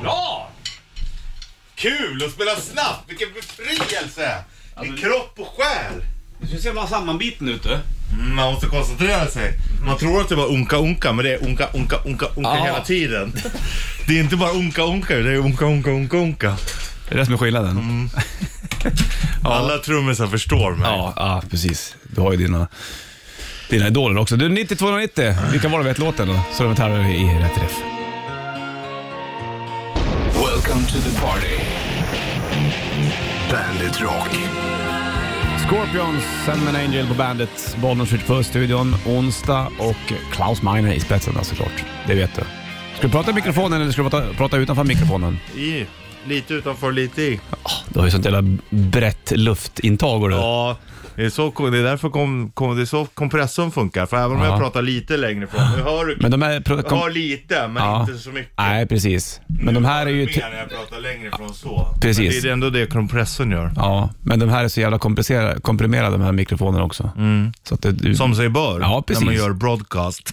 Speaker 2: Bra!
Speaker 3: Kul att spela snabbt, vilken befrielse! I kropp och själ.
Speaker 2: Du ser så jävla sammanbiten ut du.
Speaker 3: Mm, Man måste koncentrera sig. Man tror att det var unka unka, men det är unka unka unka unka
Speaker 2: Ja.
Speaker 3: hela tiden. Det är inte bara unka unka, det är unka unka unka unka.
Speaker 2: Det är det som är skillnaden.
Speaker 3: Alla trummisar förstår mig.
Speaker 2: Ja, ja, precis. Du har ju dina, dina idoler också. Du, 9290. Vilka var det vi vet låten då? Så de tar i rätt träff.
Speaker 1: Welcome to the party. Bandit Rock.
Speaker 2: Scorpions, Sandman Angel på bandet. Bollnäs skjuter på studion onsdag och Klaus Meine i spetsen då, såklart. Det vet du. Ska du prata i mikrofonen eller ska du prata, prata utanför mikrofonen?
Speaker 3: I. Lite utanför, lite i.
Speaker 2: Du har ju sånt jävla brett luftintag och du.
Speaker 3: Ja, det är, så, det är därför kom, kom, det är så kompressorn funkar. För även om
Speaker 2: Ja.
Speaker 3: jag pratar lite längre från, nu hör du,
Speaker 2: Men de här... pro-
Speaker 3: jag
Speaker 2: kom-
Speaker 3: hör lite men
Speaker 2: Ja.
Speaker 3: inte så mycket.
Speaker 2: Nej, precis. Men de här är ju...
Speaker 3: Mer
Speaker 2: te-
Speaker 3: när jag pratar längre från så.
Speaker 2: Precis.
Speaker 3: Men det är ändå det kompressorn gör.
Speaker 2: Ja, men de här är så jävla komplicerade- komprimerade de här mikrofonerna också. Så att det, du,
Speaker 3: Som sig bör,
Speaker 2: Ja,
Speaker 3: när
Speaker 2: precis.
Speaker 3: man gör broadcast.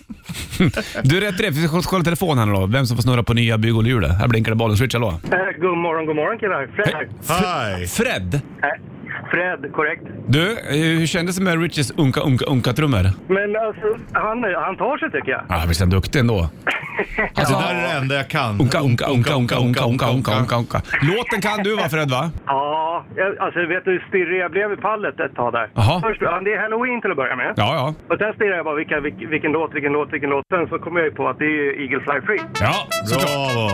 Speaker 2: Du är rätt rätt. Vi ska kolla telefonen här nu då. Vem som får snurra på nya byggoljehjulet. Här blinkar det bollen. Switch, hallå.
Speaker 8: Eh, God morgon, god morgon killar. Fred.
Speaker 3: Hi!
Speaker 2: Fred.
Speaker 8: Eh, Fred, korrekt.
Speaker 2: Du, eh, hur kändes det med Richies unka unka unka trummor?
Speaker 8: Men alltså, han, han tar sig tycker jag.
Speaker 2: Ja, visst är han duktig ändå?
Speaker 3: Alltså, det där är det enda jag kan.
Speaker 2: Unka unka unka unka unka unka unka unka unka. Låten kan du va Fred va?
Speaker 8: Ja, jag- alltså vet du hur stirrig jag blev i pallet ett tag där?
Speaker 2: Jaha.
Speaker 8: Först, ja, det är halloween till att börja med.
Speaker 2: Ja, ja.
Speaker 8: Och sen stirrade jag bara vilka, vilken, vilken låt, vilken låt, vilken låt. Sen så kom jag ju på att det är ju Eagle Fly Free.
Speaker 2: Ja, såklart.
Speaker 3: Bravo!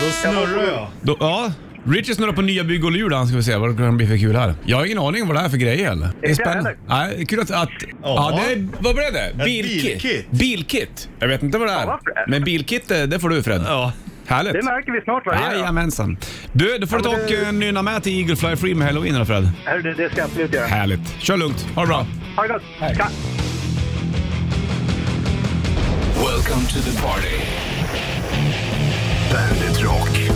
Speaker 3: Då snurrar jag.
Speaker 2: Då, ja, Richie snurrar på nya bygghjul han ska vi se vad det kan bli för kul här. Jag har ingen aning vad det här är för grej heller. Det är
Speaker 8: Inte
Speaker 2: spännande. Nej, kul att... att ja, det är, vad blev det?
Speaker 3: Ett bilkit.
Speaker 2: Bilkit. Jag vet inte vad det är.
Speaker 8: varför det?
Speaker 2: Men bilkit, eh, det får du Fred.
Speaker 3: Ja.
Speaker 2: Härligt.
Speaker 8: Det märker vi snart va?
Speaker 2: Jajamensan. Du, då får du ta och eh, nynna med till Eagle Fly Free med Halloween då Fred.
Speaker 8: Hörru, det, det ska jag absolut göra.
Speaker 2: Härligt. Kör lugnt. Ha det bra.
Speaker 8: Ha det gott.
Speaker 2: Hej.
Speaker 8: Tja.
Speaker 1: Welcome to the party. Bandit Rock.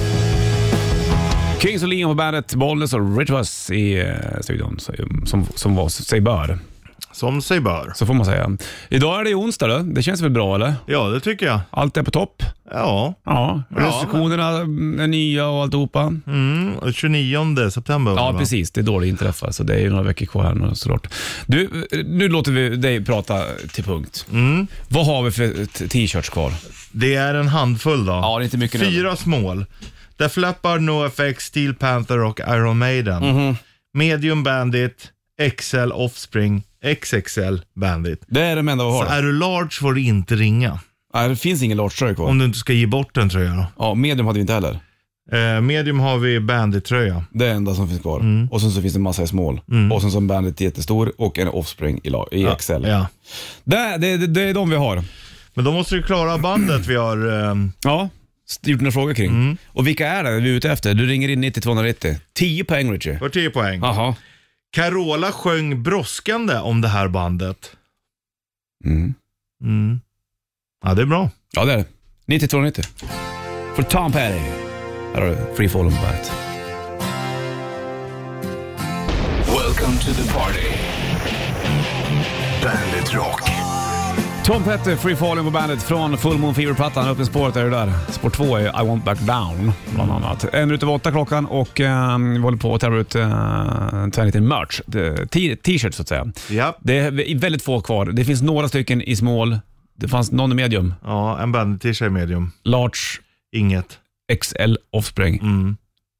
Speaker 2: Kings och Leon på bandet, Bollnäs och Ritchvas i eh, studion så- som, som var sig bör.
Speaker 3: Som sig bör.
Speaker 2: Så får man säga. Idag är det ju onsdag då. Det känns väl bra eller?
Speaker 3: Ja, det tycker jag.
Speaker 2: Allt är på topp.
Speaker 3: Ja.
Speaker 2: Ja, restriktionerna är nya och alltihopa.
Speaker 3: Mm, 29 september var
Speaker 2: Ja,
Speaker 3: det, va?
Speaker 2: precis. Det är då det inträffar, så det är ju några veckor kvar här nu såklart. Du, eh, nu låter vi dig prata till punkt. Vad har vi för t- t-shirts kvar?
Speaker 3: Det är en handfull då.
Speaker 2: Ja, det är inte mycket nu.
Speaker 3: Fyra smål. The Flappard, NoFX, Steel Panther och Iron Maiden. Medium Bandit, XL Offspring, XXL Bandit.
Speaker 2: Det är de enda vi
Speaker 3: Så
Speaker 2: har.
Speaker 3: är du large får du inte ringa.
Speaker 2: Nej, det finns ingen large-tröja kvar.
Speaker 3: Om du inte ska ge bort en tröja då.
Speaker 2: Ja, medium hade vi inte heller.
Speaker 3: Eh, medium har vi Bandit-tröja.
Speaker 2: Det är det enda som finns kvar.
Speaker 3: Mm.
Speaker 2: Och sen så finns det en massa i small. Och sen så en Bandit jättestor och en Offspring i, la- i XL.
Speaker 3: Ja.
Speaker 2: Det, det, det, det är de vi har.
Speaker 3: Men då måste du klara bandet vi har. ehm,
Speaker 2: Ja, st- gjort några frågor kring.
Speaker 3: Mm.
Speaker 2: Och vilka är det vi är ute efter? Du ringer in 9290. 10 poäng Richie.
Speaker 3: var 10 poäng.
Speaker 2: Jaha.
Speaker 3: Carola sjöng brådskande om det här bandet.
Speaker 2: Mm.
Speaker 3: Mm. Ja, det är bra.
Speaker 2: Ja, det är det. 9290. För Tom Petty. Här har du Free Fallen på bandet.
Speaker 1: Welcome to the party. Bandit Rock.
Speaker 2: Tom Petty, Free Fallen på bandet från Full Moon Fever-plattan. Öppna spåret är det där. Spår två är I Want Back Down, bland annat. En minut över åtta klockan och eh, vi håller på att tävla ut uh, en liten merch. Det- t- T-shirt så att säga.
Speaker 3: Japp.
Speaker 2: Det är väldigt få kvar. Det finns några stycken i small. Det fanns någon i medium.
Speaker 3: Ja, en bandit-t-shirt i medium.
Speaker 2: Large,
Speaker 3: Inget.
Speaker 2: XL, Offspring.
Speaker 3: Mm.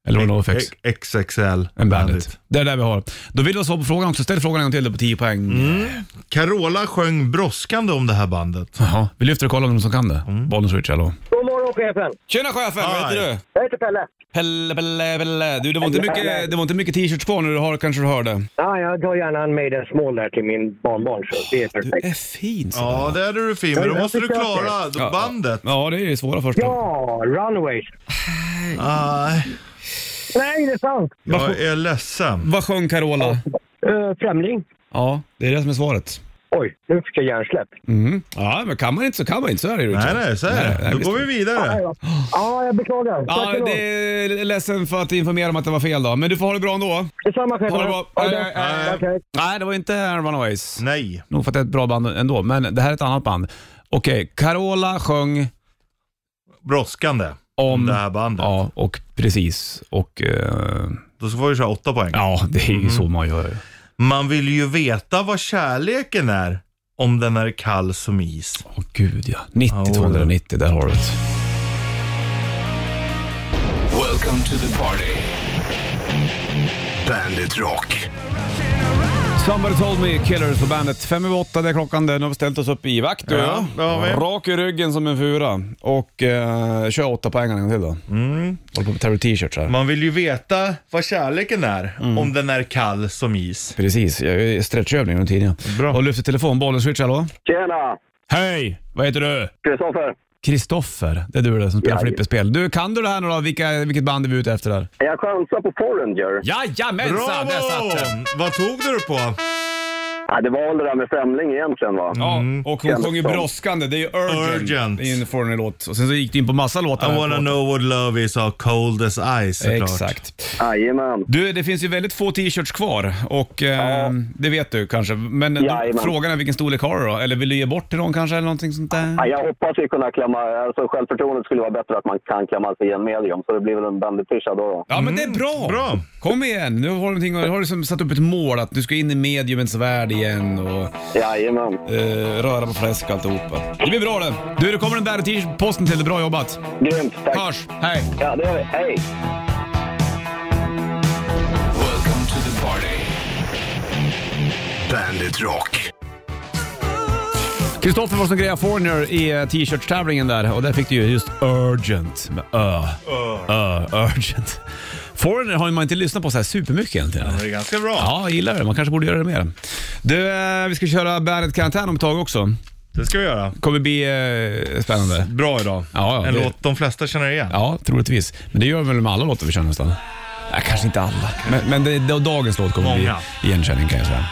Speaker 2: Eller vad det var
Speaker 3: X- XXL.
Speaker 2: En bandit. Det är det vi har. Då vill du ha svar på frågan också. Ställ frågan en gång till då på 10 poäng.
Speaker 3: Carola sjöng brådskande om det här bandet.
Speaker 2: Jaha, vi lyfter och kollar om de som kan det. Bollens Rich, hallå.
Speaker 9: God morgon chefen!
Speaker 2: Mm. Tjena chefen, vad heter
Speaker 3: Hej.
Speaker 2: du?
Speaker 9: Jag heter Pelle.
Speaker 2: Pelle, Pelle, Pelle. Du, det var inte mycket, det var inte mycket t-shirts kvar nu, du har, kanske du hörde.
Speaker 9: Ja, jag tar gärna en Maiden Small där till min barnbarn så det är
Speaker 2: Du
Speaker 9: perfekt.
Speaker 2: är fin så.
Speaker 3: Ja, det är du fin, men då
Speaker 9: jag
Speaker 3: måste du
Speaker 9: försöker.
Speaker 3: klara bandet.
Speaker 2: Ja, det är ju svåra första.
Speaker 9: Ja, Runaways! Mm.
Speaker 3: Nej,
Speaker 9: Nej, det är sant!
Speaker 3: jag är ledsen.
Speaker 2: Vad sjöng Carola?
Speaker 9: Eh, främling.
Speaker 2: Ja, det är det som är svaret.
Speaker 9: Oj, nu fick jag hjärnsläpp.
Speaker 2: Ja, men kan man inte så kan man inte. Så är det ju.
Speaker 3: Nej, nej, så är
Speaker 2: Nej, nej,
Speaker 3: det. Då
Speaker 2: visst.
Speaker 3: går vi vidare.
Speaker 9: Ja, jag beklagar. Tack
Speaker 2: Ja,
Speaker 9: ändå.
Speaker 2: det är ledsen för att informera om att det var fel då, men du får ha det bra ändå.
Speaker 9: Detsamma chefen.
Speaker 2: Ha det bra.
Speaker 9: Ha
Speaker 2: Hej,
Speaker 9: det.
Speaker 2: hej, hej.
Speaker 9: Tack, hej.
Speaker 2: Nej, det var inte Runaways.
Speaker 3: Nej.
Speaker 2: Nog för att det är ett bra band ändå, men det här är ett annat band. Okej, Carola sjöng
Speaker 3: Brådskande.
Speaker 2: om...
Speaker 3: Det här bandet.
Speaker 2: Mm. Ja, och precis. Och eh,
Speaker 3: Då får vi köra åtta poäng.
Speaker 2: ja, det är ju så man gör.
Speaker 3: Man vill ju veta vad kärleken är om den är kall som is.
Speaker 2: Åh gud ja. 90-290, där har du det.
Speaker 1: Welcome to the party. Bandit Rock.
Speaker 2: Somebody told me, Killers på bandet. Fem över åtta, det är klockan. det. Nu har vi ställt oss upp i vakt. du och
Speaker 3: Ja, det har vi.
Speaker 2: jag. Rak i ryggen som en fura. Och eh, kör åtta poäng en gång till då.
Speaker 3: Mm.
Speaker 2: Håller på med Terry T-shirts här.
Speaker 3: Man vill ju veta vad kärleken är
Speaker 2: Mm.
Speaker 3: om den är kall som is.
Speaker 2: Precis, jag är i stretchövning under tiden.
Speaker 3: Bra.
Speaker 2: Och lyfter telefon, bollen switch, hallå?
Speaker 9: Tjena!
Speaker 2: Hej! Vad heter du?
Speaker 9: Kristoffer.
Speaker 2: Kristoffer, det är du det som spelar flipperspel. Du, kan du det här nu då? Vilka, vilket band är vi ute efter där?
Speaker 9: Jag chansar på Foreigner.
Speaker 2: Jajamensan,
Speaker 3: Bravo!
Speaker 2: där satt den!
Speaker 3: Vad tog du det på?
Speaker 9: Ja, det var väl det där med Främling egentligen va?
Speaker 2: Ja, och hon
Speaker 9: Känns
Speaker 2: sjöng ju
Speaker 9: som.
Speaker 2: brådskande. Det är ju Urgent.
Speaker 3: Mm. Urgent.
Speaker 2: Det är en foreigner låt. Och sen så gick du in på massa låtar.
Speaker 3: I
Speaker 2: här
Speaker 3: wanna
Speaker 2: på-
Speaker 3: know what love is av cold as ice såklart.
Speaker 2: Exakt.
Speaker 9: Jajamän.
Speaker 2: Du, det finns ju väldigt få t-shirts kvar och eh, det vet du kanske. Men då-
Speaker 9: Jajamän.
Speaker 2: frågan är vilken storlek har du då? Eller vill du ge bort till någon kanske eller någonting sånt där?
Speaker 9: Ja, jag hoppas vi kunna klämma, alltså självförtroendet skulle vara bättre att man kan klämma sig i en medium så det blir väl en bandytisha då. då.
Speaker 2: Ja, men det är bra.
Speaker 3: Mm, Bra.
Speaker 2: Kom igen, nu har du, någonting, har du som satt upp ett mål att du ska in i mediumens värld igen och
Speaker 9: Jajamän.
Speaker 2: eh, röra på fläsk och alltihopa. Det blir bra det. Du, det kommer en värd t-shirt på posten till dig. Bra jobbat.
Speaker 9: Grymt, tack.
Speaker 2: Hörs, hej.
Speaker 9: Ja, det gör vi. Hej!
Speaker 1: Welcome to the party. Bandit Rock.
Speaker 2: Kristoffer var som grejade Foreigner i eh, t-shirtstävlingen där och där fick du ju just Urgent med Ö. Ö. Urgent. Foreigner har ju man inte lyssnat på så här supermycket egentligen.
Speaker 3: Det är ganska bra.
Speaker 2: Ja, jag gillar det. Man kanske borde göra det mer. Du, eh, vi ska köra Bandet-karantän om ett tag också.
Speaker 3: Det ska vi göra.
Speaker 2: kommer bli eh, spännande.
Speaker 3: Bra idag.
Speaker 2: Ja, ja,
Speaker 3: en
Speaker 2: det-
Speaker 3: låt de flesta känner igen.
Speaker 2: Ja, troligtvis. Men det gör väl med alla låtar vi kör nästan? Nej, kanske inte alla. Men, men det, det, dagens låt kommer
Speaker 3: Många.
Speaker 2: bli igenkänning kan jag säga.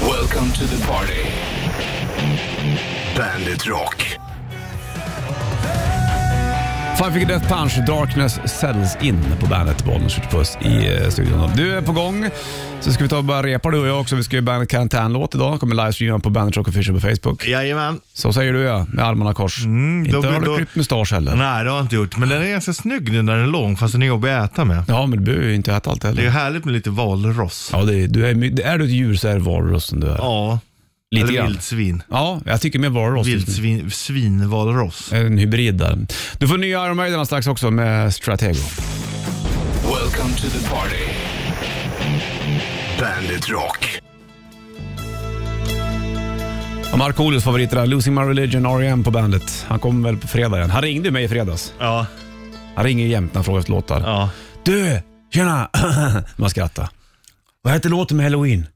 Speaker 1: Welcome to the party. Bandit Rock.
Speaker 2: Five Finger Death Punch, Darkness Settles In på bandet Bollnäs Puss i eh, studion. Du är på gång, så ska vi ta och börja repa du och jag också. Vi ska göra bandet Karantänlåt idag. Kommer livestreama på Bandet Rock Official på Facebook.
Speaker 3: Jajamän.
Speaker 2: Så säger du ja, med armarna kors. inte
Speaker 3: Mm, då-
Speaker 2: har du
Speaker 3: då-
Speaker 2: klippt mustasch heller.
Speaker 3: Nej, det har jag inte gjort. Men den är ganska snygg nu när den är lång, fast den är jobbig att äta med.
Speaker 2: Ja, men du behöver ju inte äta allt
Speaker 3: Det är
Speaker 2: heller.
Speaker 3: ju härligt med lite valross.
Speaker 2: Ja, det är, du är, my- är du ett djur så är det valros som du är.
Speaker 3: Ja.
Speaker 2: Lite
Speaker 3: Eller
Speaker 2: grann.
Speaker 3: vildsvin.
Speaker 2: Ja, jag tycker mer valros.
Speaker 3: Vildsvin, svinvalross.
Speaker 2: En hybrid där. Du får nya Iron Maiden strax också med Stratego.
Speaker 1: Welcome to the party. Bandit Rock.
Speaker 2: Och Markoolios favoriter där, Losing My Religion, R.E.M. på bandet. Han kommer väl på fredag igen. Han ringde mig i fredags.
Speaker 3: Ja,
Speaker 2: Han ringer jämt när han frågar efter låtar.
Speaker 3: ja.
Speaker 2: Du, tjena! Man skrattar. Vad heter låten med halloween?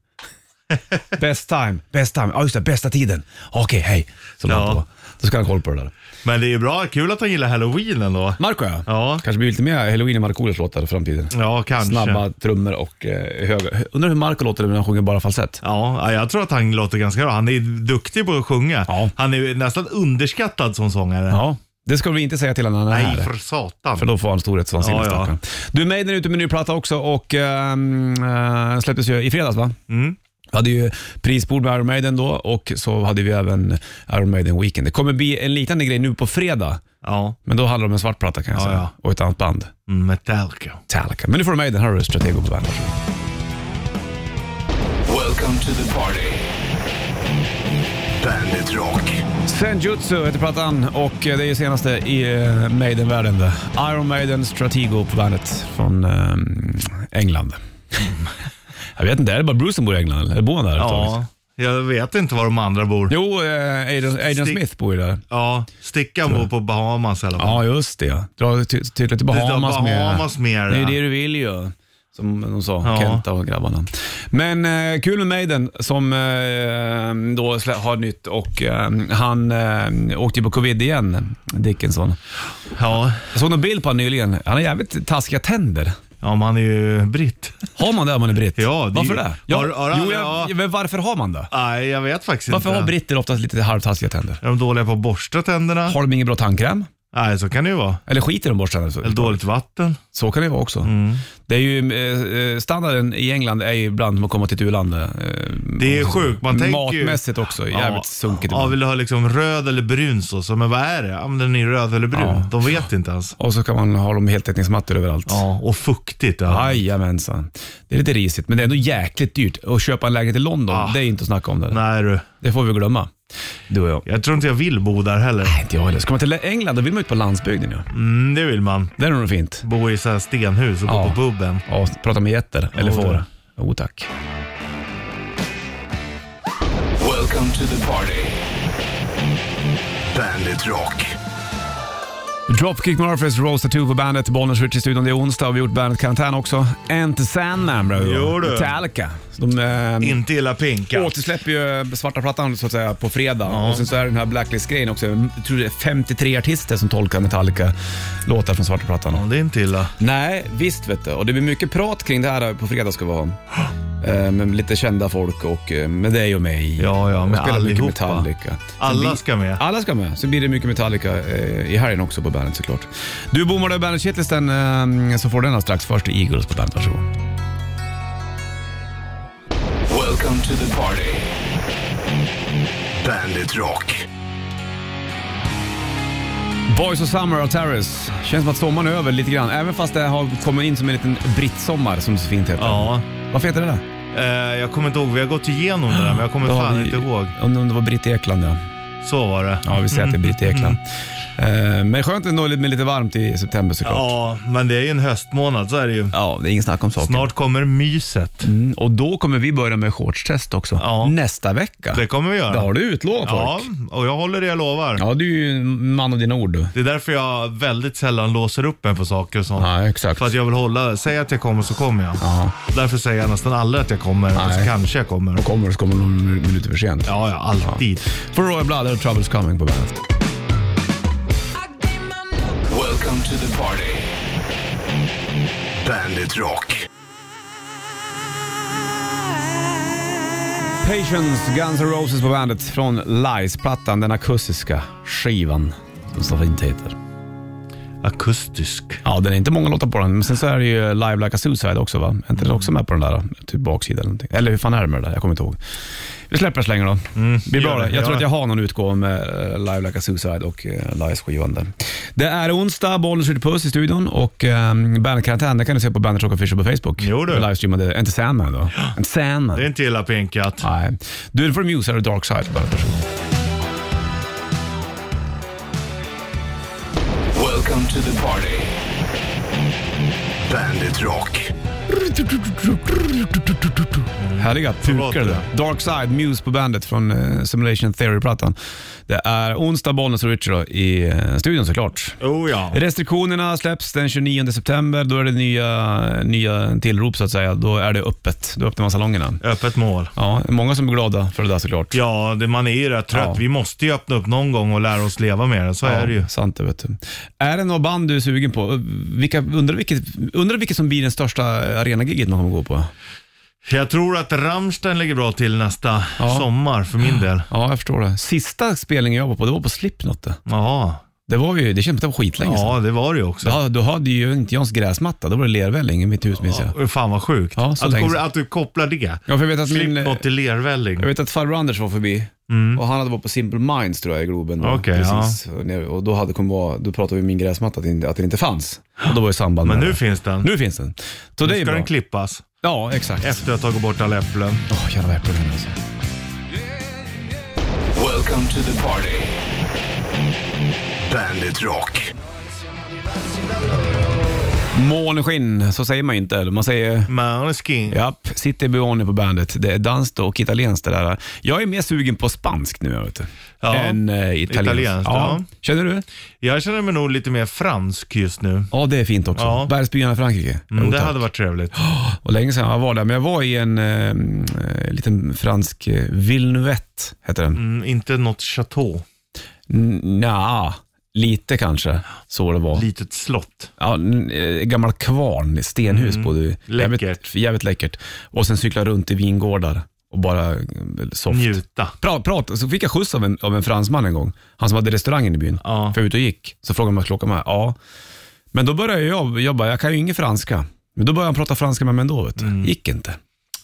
Speaker 2: best time, best time. Ja just det, bästa tiden. Okej, hej. Så
Speaker 3: Ja.
Speaker 2: ja. på. Då ska han ha koll på det där.
Speaker 3: Men det är bra. Kul att han gillar halloween ändå.
Speaker 2: Marco ja.
Speaker 3: Ja.
Speaker 2: Kanske blir lite mer halloween i Markoolios låtar i framtiden.
Speaker 3: Ja, kanske.
Speaker 2: Snabba trummor och eh, höga. Undrar hur Marco låter när han sjunger bara falsett.
Speaker 3: Ja, jag tror att han låter ganska bra. Han är duktig på att sjunga.
Speaker 2: Ja.
Speaker 3: Han är ju nästan underskattad som sångare.
Speaker 2: Ja. Det ska vi inte säga till honom när han är
Speaker 3: Nej,
Speaker 2: här.
Speaker 3: för satan.
Speaker 2: För då får han storhetsvansinne
Speaker 3: Ja, ja.
Speaker 2: stackarn. Du, Maiden är ute med ny platta också och ehm, eh, släpptes ju i fredags va?
Speaker 3: Mm.
Speaker 2: Vi hade ju prisbord med Iron Maiden då och så hade vi även Iron Maiden Weekend. Det kommer bli en liknande grej nu på fredag,
Speaker 3: Ja,
Speaker 2: men då handlar det om en svart platta kan jag
Speaker 3: Ja,
Speaker 2: säga.
Speaker 3: ja.
Speaker 2: Och ett annat band,
Speaker 3: Mm, Metallica.
Speaker 2: Metallica. Men nu får du Maiden, här har du Stratego på bandet.
Speaker 1: Welcome to the party. Bandit Rock.
Speaker 2: Senjutsu heter plattan och eh, det är ju senaste i eh, Maiden-världen. det. Iron Maiden Stratego på bandet från ehm, England. jag vet inte, är det bara Bruce som bor i England eller? Eller bor han där överhuvudtaget?
Speaker 3: Ja, jag vet inte var de andra bor.
Speaker 2: Jo, eh, Adrian, Adrian
Speaker 3: Stick-
Speaker 2: Smith bor ju där.
Speaker 3: Ja, Stickan bor på Bahamas i alla fall.
Speaker 2: Ja, just det. Dra ty- tydligen till
Speaker 3: Det
Speaker 2: Bahamas,
Speaker 3: står
Speaker 2: med.
Speaker 3: Bahamas med.
Speaker 2: Det är ju det du vill ju. Som de sa,
Speaker 3: Ja.
Speaker 2: Kenta och grabbarna. Men eh, kul med Maiden som eh, då slä- har nytt och eh, han eh, åkte ju på covid igen, Dickinson.
Speaker 3: Ja,
Speaker 2: Jag såg någon bild på honom nyligen. Han har jävligt taskiga tänder.
Speaker 3: ja man är ju britt.
Speaker 2: Har man det om man är britt?
Speaker 3: Ja, det-
Speaker 2: varför det? Ja,
Speaker 3: Har- har
Speaker 2: jo,
Speaker 3: han-
Speaker 2: jag,
Speaker 3: ja.
Speaker 2: Men varför har man det?
Speaker 3: Nej, jag vet faktiskt
Speaker 2: Varför
Speaker 3: inte.
Speaker 2: har britter oftast lite halvtaskiga tänder?
Speaker 3: Är de dåliga på att borsta tänderna?
Speaker 2: Har de ingen bra tandkräm?
Speaker 3: Nej, så kan det ju vara.
Speaker 2: Eller skiter de bort tänderna?
Speaker 3: Eller dåligt vatten.
Speaker 2: Så kan det vara också.
Speaker 3: Mm.
Speaker 2: Det är ju, eh, eh, standarden i England är ju ibland som att komma till ett u-land. eh,
Speaker 3: Det är sjukt. Man tänker ju...
Speaker 2: Matmässigt också, jävligt sunkigt.
Speaker 3: Ja,
Speaker 2: ibland.
Speaker 3: vill du ha liksom röd eller brun sås? Men vad är det? Ja, men den är röd eller brun.
Speaker 2: Ja.
Speaker 3: De vet inte ens.
Speaker 2: Och så kan man ha dem heltäckningsmattor överallt.
Speaker 3: Ja, och fuktigt. Ja.
Speaker 2: Jajamensan. Det är lite risigt, men det är ändå jäkligt dyrt. Att köpa en lägenhet i London, det är inte att snacka om det.
Speaker 3: Ah. Nej du.
Speaker 2: Det får vi glömma, du och jag.
Speaker 3: Jag tror inte jag vill bo där heller.
Speaker 2: Nej, Inte jag heller. Ska man till England, då vill man ut på landsbygden ju.
Speaker 3: Mm, det vill man.
Speaker 2: Där är det nog fint.
Speaker 3: Bo i så här stenhus och
Speaker 2: Ja.
Speaker 3: gå på puben.
Speaker 2: Ja, prata med getter eller
Speaker 3: Mm. Jo,
Speaker 2: får.
Speaker 3: det.
Speaker 2: Jo tack.
Speaker 1: Welcome to the party. Bandit Rock.
Speaker 2: Dropkick Murphys Roast Tattoo på bandet, Bollnäs Ritchie i studion. Det är onsdag och vi har gjort bandet karantän också. Enter Sandman bro.
Speaker 3: Jo, du.
Speaker 2: Metallica. De eh,
Speaker 3: Inte illa pinka.
Speaker 2: återsläpper ju eh, svarta plattan så att säga på fredag. Och sen så är det den här Blacklist-grejen också. Jag tror det är 53 artister som tolkar Metallica-låtar från svarta plattan.
Speaker 3: Ja, det är inte illa.
Speaker 2: Nej, visst vet du. Och det blir mycket prat kring det här på fredag ska vi ha. Eh, Med lite kända folk och eh, med dig och mig.
Speaker 3: Ja, ja,
Speaker 2: Och
Speaker 3: med
Speaker 2: spelar mycket
Speaker 3: allihopa.
Speaker 2: Metallica. Sen
Speaker 3: Alla
Speaker 2: blir-
Speaker 3: ska med.
Speaker 2: Alla ska med. Sen blir det mycket Metallica eh, i helgen också på bandet såklart. Du bommar du bandet-shitlisten eh, så får du den här strax. Först Eagles på bandet, varsågod.
Speaker 1: Welcome to the party. Bandit Rock.
Speaker 2: Boys of Summer och Terrace. Känns som att sommaren är över lite grann. Även fast det har kommit in som en liten brittsommar som det så fint heter.
Speaker 3: Ja.
Speaker 2: Varför heter det det?
Speaker 3: Eh, jag kommer inte ihåg. Vi har gått igenom det där, men jag kommer
Speaker 2: Då har
Speaker 3: fan
Speaker 2: vi-
Speaker 3: inte ihåg.
Speaker 2: Om det var Britt Ekland ja.
Speaker 3: Så var det.
Speaker 2: Ja, vi säger att det är Britt Ekland. Eh, Men skönt ändå med lite varmt i september såklart. Ja,
Speaker 3: Mm. Ja, men det är ju en höstmånad, så är det ju.
Speaker 2: det är ingen snack om saken.
Speaker 3: Snart kommer myset.
Speaker 2: Mm, och då kommer vi börja med shortstest också.
Speaker 3: Ja.
Speaker 2: Nästa vecka.
Speaker 3: Det kommer vi göra.
Speaker 2: Det har du utlovat
Speaker 3: Ja,
Speaker 2: folk.
Speaker 3: och jag håller det jag lovar.
Speaker 2: Ja, du är ju en man av dina ord du.
Speaker 3: Det är därför jag väldigt sällan låser upp mig på saker och sånt.
Speaker 2: Ja, exakt.
Speaker 3: För att jag vill hålla, säg att jag kommer så kommer jag. Därför säger jag nästan aldrig att jag kommer, och så
Speaker 2: Nej.
Speaker 3: kanske jag kommer.
Speaker 2: Kommer så kommer några min- minuter för sent.
Speaker 3: Ja, ja, alltid.
Speaker 2: For Royal Blood och Troubles Coming på bandet.
Speaker 1: Welcome to the party. Bandit Rock.
Speaker 2: Patience, Guns N' Roses på bandet från Lies-plattan, den akustiska skivan som så fint heter.
Speaker 3: Akustisk.
Speaker 2: Ja, den är inte många låtar på den, men sen så är det ju Live Like a Suicide också va? Är inte den också med på den där? Typ baksida eller någonting. Eller hur fan är det med det där? Jag kommer inte ihåg. Vi släpper så länge då. det blir bra
Speaker 3: Mm, gör
Speaker 2: det.
Speaker 3: det,
Speaker 2: Jag
Speaker 3: gör
Speaker 2: tror att
Speaker 3: det.
Speaker 2: jag har någon utgåva med eh, Live Like a Suicide och eh, Lies-skivan där. Det är onsdag, bollen skjuter puss i studion och eh, Bandit-karantän, det kan du se på Bandit Rock Official på Facebook.
Speaker 3: Jo, du.
Speaker 2: Vi Livestreamade, inte Sandman då? Inte Sandman.
Speaker 3: Det är inte illa pinkat.
Speaker 2: Nej. Du, nu får du Muse här och Dark Side på Bandit. Varsågod.
Speaker 1: Welcome to the party. Bandit Rock.
Speaker 2: Härliga pukar det där. Dark Side, Muse på bandet från eh, Simulation Theory-plattan. Det är onsdag, Bollnäs och Richard då, i eh, studion såklart.
Speaker 3: Oh ja.
Speaker 2: Restriktionerna släpps den 29 september. Då är det nya, nya tillrop så att säga. Då är det öppet. Då öppnar man salongerna.
Speaker 3: Öppet mål.
Speaker 2: Ja, många som är glada för det där såklart.
Speaker 3: Ja, det, man är ju rätt trött.
Speaker 2: Ja.
Speaker 3: Vi måste ju öppna upp någon gång och lära oss leva med det. Så är det ju.
Speaker 2: Sant det vet du. Är det något band du är sugen på? Vilka, undrar, vilket, undrar vilket som blir den största arenagiget man kommer gå på?
Speaker 3: Jag tror att Rammstein ligger bra till nästa
Speaker 2: Ja.
Speaker 3: sommar för min del.
Speaker 2: Ja, jag förstår det. Sista spelningen jag var på, det var på Slipknot. det.
Speaker 3: Ja,
Speaker 2: Det var ju, det känns som att det var skitlänge sedan.
Speaker 3: ja det var det ju också.
Speaker 2: Ja, då hade ju inte jag ens gräsmatta. Då var det lervälling i mitt hus minns jag.
Speaker 3: Ja, Fan vad sjukt.
Speaker 2: Ja, så
Speaker 3: att,
Speaker 2: länge
Speaker 3: kommer,
Speaker 2: sedan.
Speaker 3: att du kopplar det.
Speaker 2: Ja, för jag vet att min...
Speaker 3: Slipknot till lervälling.
Speaker 2: Jag vet att farbror Anders var förbi och han hade varit på Simple Minds tror jag i Globen. då.
Speaker 3: Mm. Okej,
Speaker 2: Precis. Och nere- Och då, hade, kom, vara- då pratade vi om min gräsmatta, att den inte- att den inte fanns. Och då var ju samband
Speaker 3: Men
Speaker 2: med
Speaker 3: nu
Speaker 2: det.
Speaker 3: finns den.
Speaker 2: nu finns den. Så det är
Speaker 3: Ska
Speaker 2: bra.
Speaker 3: den klippas
Speaker 2: Ja, exakt.
Speaker 3: efter att ha tagit bort alla äpplen.
Speaker 2: Åh, jävla vad äpplen alltså.
Speaker 1: Welcome to the party. Bandit Rock.
Speaker 2: Månskinn, så säger man inte. eller? Man säger...
Speaker 3: Måneskin.
Speaker 2: Japp, City Buoni på bandet. Det är danskt och italienskt det där. Jag är mer sugen på spanskt nu, vet du.
Speaker 3: Ja,
Speaker 2: Än eh, italienskt.
Speaker 3: italienskt, ja.
Speaker 2: Känner du?
Speaker 3: Jag känner mig nog lite mer fransk just nu.
Speaker 2: Ja, det är fint också.
Speaker 3: Ja.
Speaker 2: Bergsbyarna i Frankrike.
Speaker 3: Mm,
Speaker 2: Jo,
Speaker 3: det
Speaker 2: tack.
Speaker 3: hade varit trevligt.
Speaker 2: Och länge sedan jag var där, men jag var i en eh, eh, liten fransk eh, Villeneuette, heter den.
Speaker 3: Mm, inte något chateau.
Speaker 2: Mm. Nja, lite kanske. Så det var.
Speaker 3: Litet slott.
Speaker 2: Ja, n- eh, gammal kvarn, stenhus bodde vi i.
Speaker 3: Mm. Läckert.
Speaker 2: Jävligt, jävligt läckert. Och sen cykla runt i vingårdar och bara eh, soft.
Speaker 3: Njuta.
Speaker 2: Prat, prat, så fick jag skjuts av en, av en fransman en gång. Han som hade restaurangen i byn.
Speaker 3: Ja.
Speaker 2: För jag var ute och gick. Så frågade han vad klockan var. Ja. Men då började jag jobba. Jag kan ju ingen franska. Men då började han prata franska med mig ändå. Vet du.
Speaker 3: Mm.
Speaker 2: Gick inte.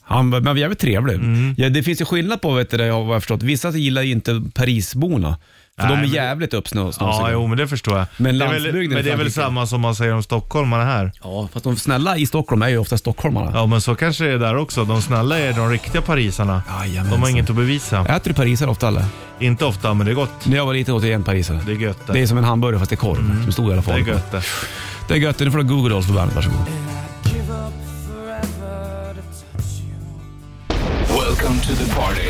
Speaker 2: Han var men jävligt trevlig. Ja, det finns ju skillnad på vet du, det, jag har vad jag förstått. Vissa gillar ju inte Parisborna. För
Speaker 3: Nej,
Speaker 2: de är
Speaker 3: men-
Speaker 2: jävligt uppsnåsiga.
Speaker 3: Ja, jo, men det förstår jag.
Speaker 2: Men
Speaker 3: det är
Speaker 2: landsbygden
Speaker 3: väl,
Speaker 2: i
Speaker 3: men det är väl
Speaker 2: Frankrike.
Speaker 3: samma som man säger om stockholmarna här.
Speaker 2: ja, fast de snälla i Stockholm är ju ofta stockholmarna.
Speaker 3: Ja, men så kanske det är där också. De snälla är de riktiga parisarna.
Speaker 2: Jajamensan.
Speaker 3: De har inget att bevisa.
Speaker 2: Äter du parisare ofta eller?
Speaker 3: Inte ofta, men det är gott.
Speaker 2: När jag var liten åt jag en parisare.
Speaker 3: Det är gött. Mm.
Speaker 2: Det är som en hamburgare fast det är korv. Som stod i alla
Speaker 3: det
Speaker 2: fall.
Speaker 3: är gött det.
Speaker 2: Det är gött. Nu får du ha Google Dolls på bandet. Varsågod.
Speaker 1: Welcome to the party.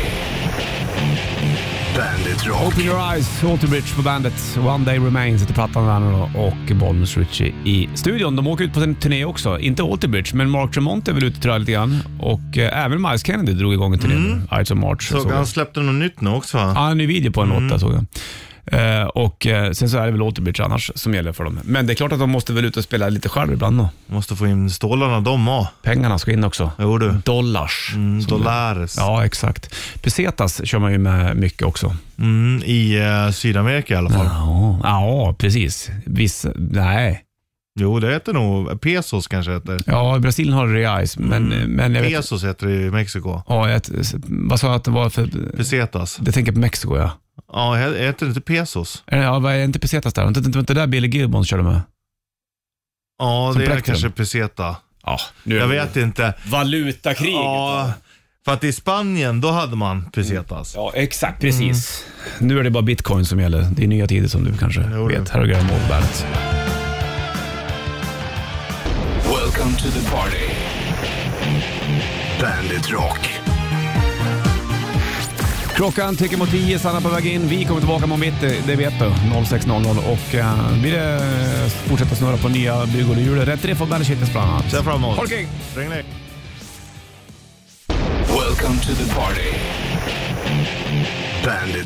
Speaker 1: Bandit Rock.
Speaker 2: Open your eyes, Alterbridge på bandet. One day remains heter plattan där nu då. och Bollnäs Ritchie i studion. De åker ut på en turné också. Inte Alterbridge, men Mark Tremont är väl ute tror jag lite grann. Och eh, även Miles Kennedy drog igång en turné nu. Eyes of March.
Speaker 3: Mm. Såg
Speaker 2: jag.
Speaker 3: han Mm. släppte något nytt nu också va?
Speaker 2: Ja, en ny video på en låt där såg jag. Eh, och eh, sen så är det väl Alterbridge annars som gäller för dem. Men det är klart att de måste väl ut och spela lite själv ibland då.
Speaker 3: Måste få in stålarna de också.
Speaker 2: Pengarna ska in också.
Speaker 3: Jo du.
Speaker 2: Dollars.
Speaker 3: Mm,
Speaker 2: som det-
Speaker 3: Dollares.
Speaker 2: Ja, exakt. Pesetas kör man ju med mycket också.
Speaker 3: Mm, I eh, Sydamerika i alla fall.
Speaker 2: Ja, ja precis. Viss, nej.
Speaker 3: Jo, det heter nog pesos kanske heter.
Speaker 2: Ja, i Brasilien har det reais, men,
Speaker 3: Mm.
Speaker 2: men jag vet...
Speaker 3: Pesos heter det i Mexiko.
Speaker 2: Ja, jag, vad sa jag att det var för...
Speaker 3: Pesetas.
Speaker 2: Det tänker jag på Mexiko, ja.
Speaker 3: Ja, he- heter det inte pesos?
Speaker 2: Är det- Ja, vad är inte pesetas där? Inte, inte, inte där Billy Gibbons körde med?
Speaker 3: Ja,
Speaker 2: Som
Speaker 3: det är
Speaker 2: plektrum.
Speaker 3: kanske peseta.
Speaker 2: Ja, nu
Speaker 3: Jag vet inte.
Speaker 2: Valutakrig.
Speaker 3: Ja, För att i Spanien, då hade man pesetas.
Speaker 2: Ja, exakt. Precis. Mm. Nu är det bara bitcoin som gäller. Det är nya tider som du kanske
Speaker 3: Jo, det.
Speaker 2: vet. Här har Graham Moll på bandet.
Speaker 1: Welcome to the party.
Speaker 5: Bandit Rock.
Speaker 2: Klockan tickar mot 10, Sanna på väg in. Vi kommer tillbaka imorgon mitt, det vet du. 06.00 och eh, blir det eh, fortsätta snurra på nya bygor och hjulet. Rätt riff och Bandet Shitlist bland annat.
Speaker 3: Ser fram emot.
Speaker 2: Ha det kul.
Speaker 3: Ring dig.
Speaker 1: Welcome to the party.
Speaker 5: Bandit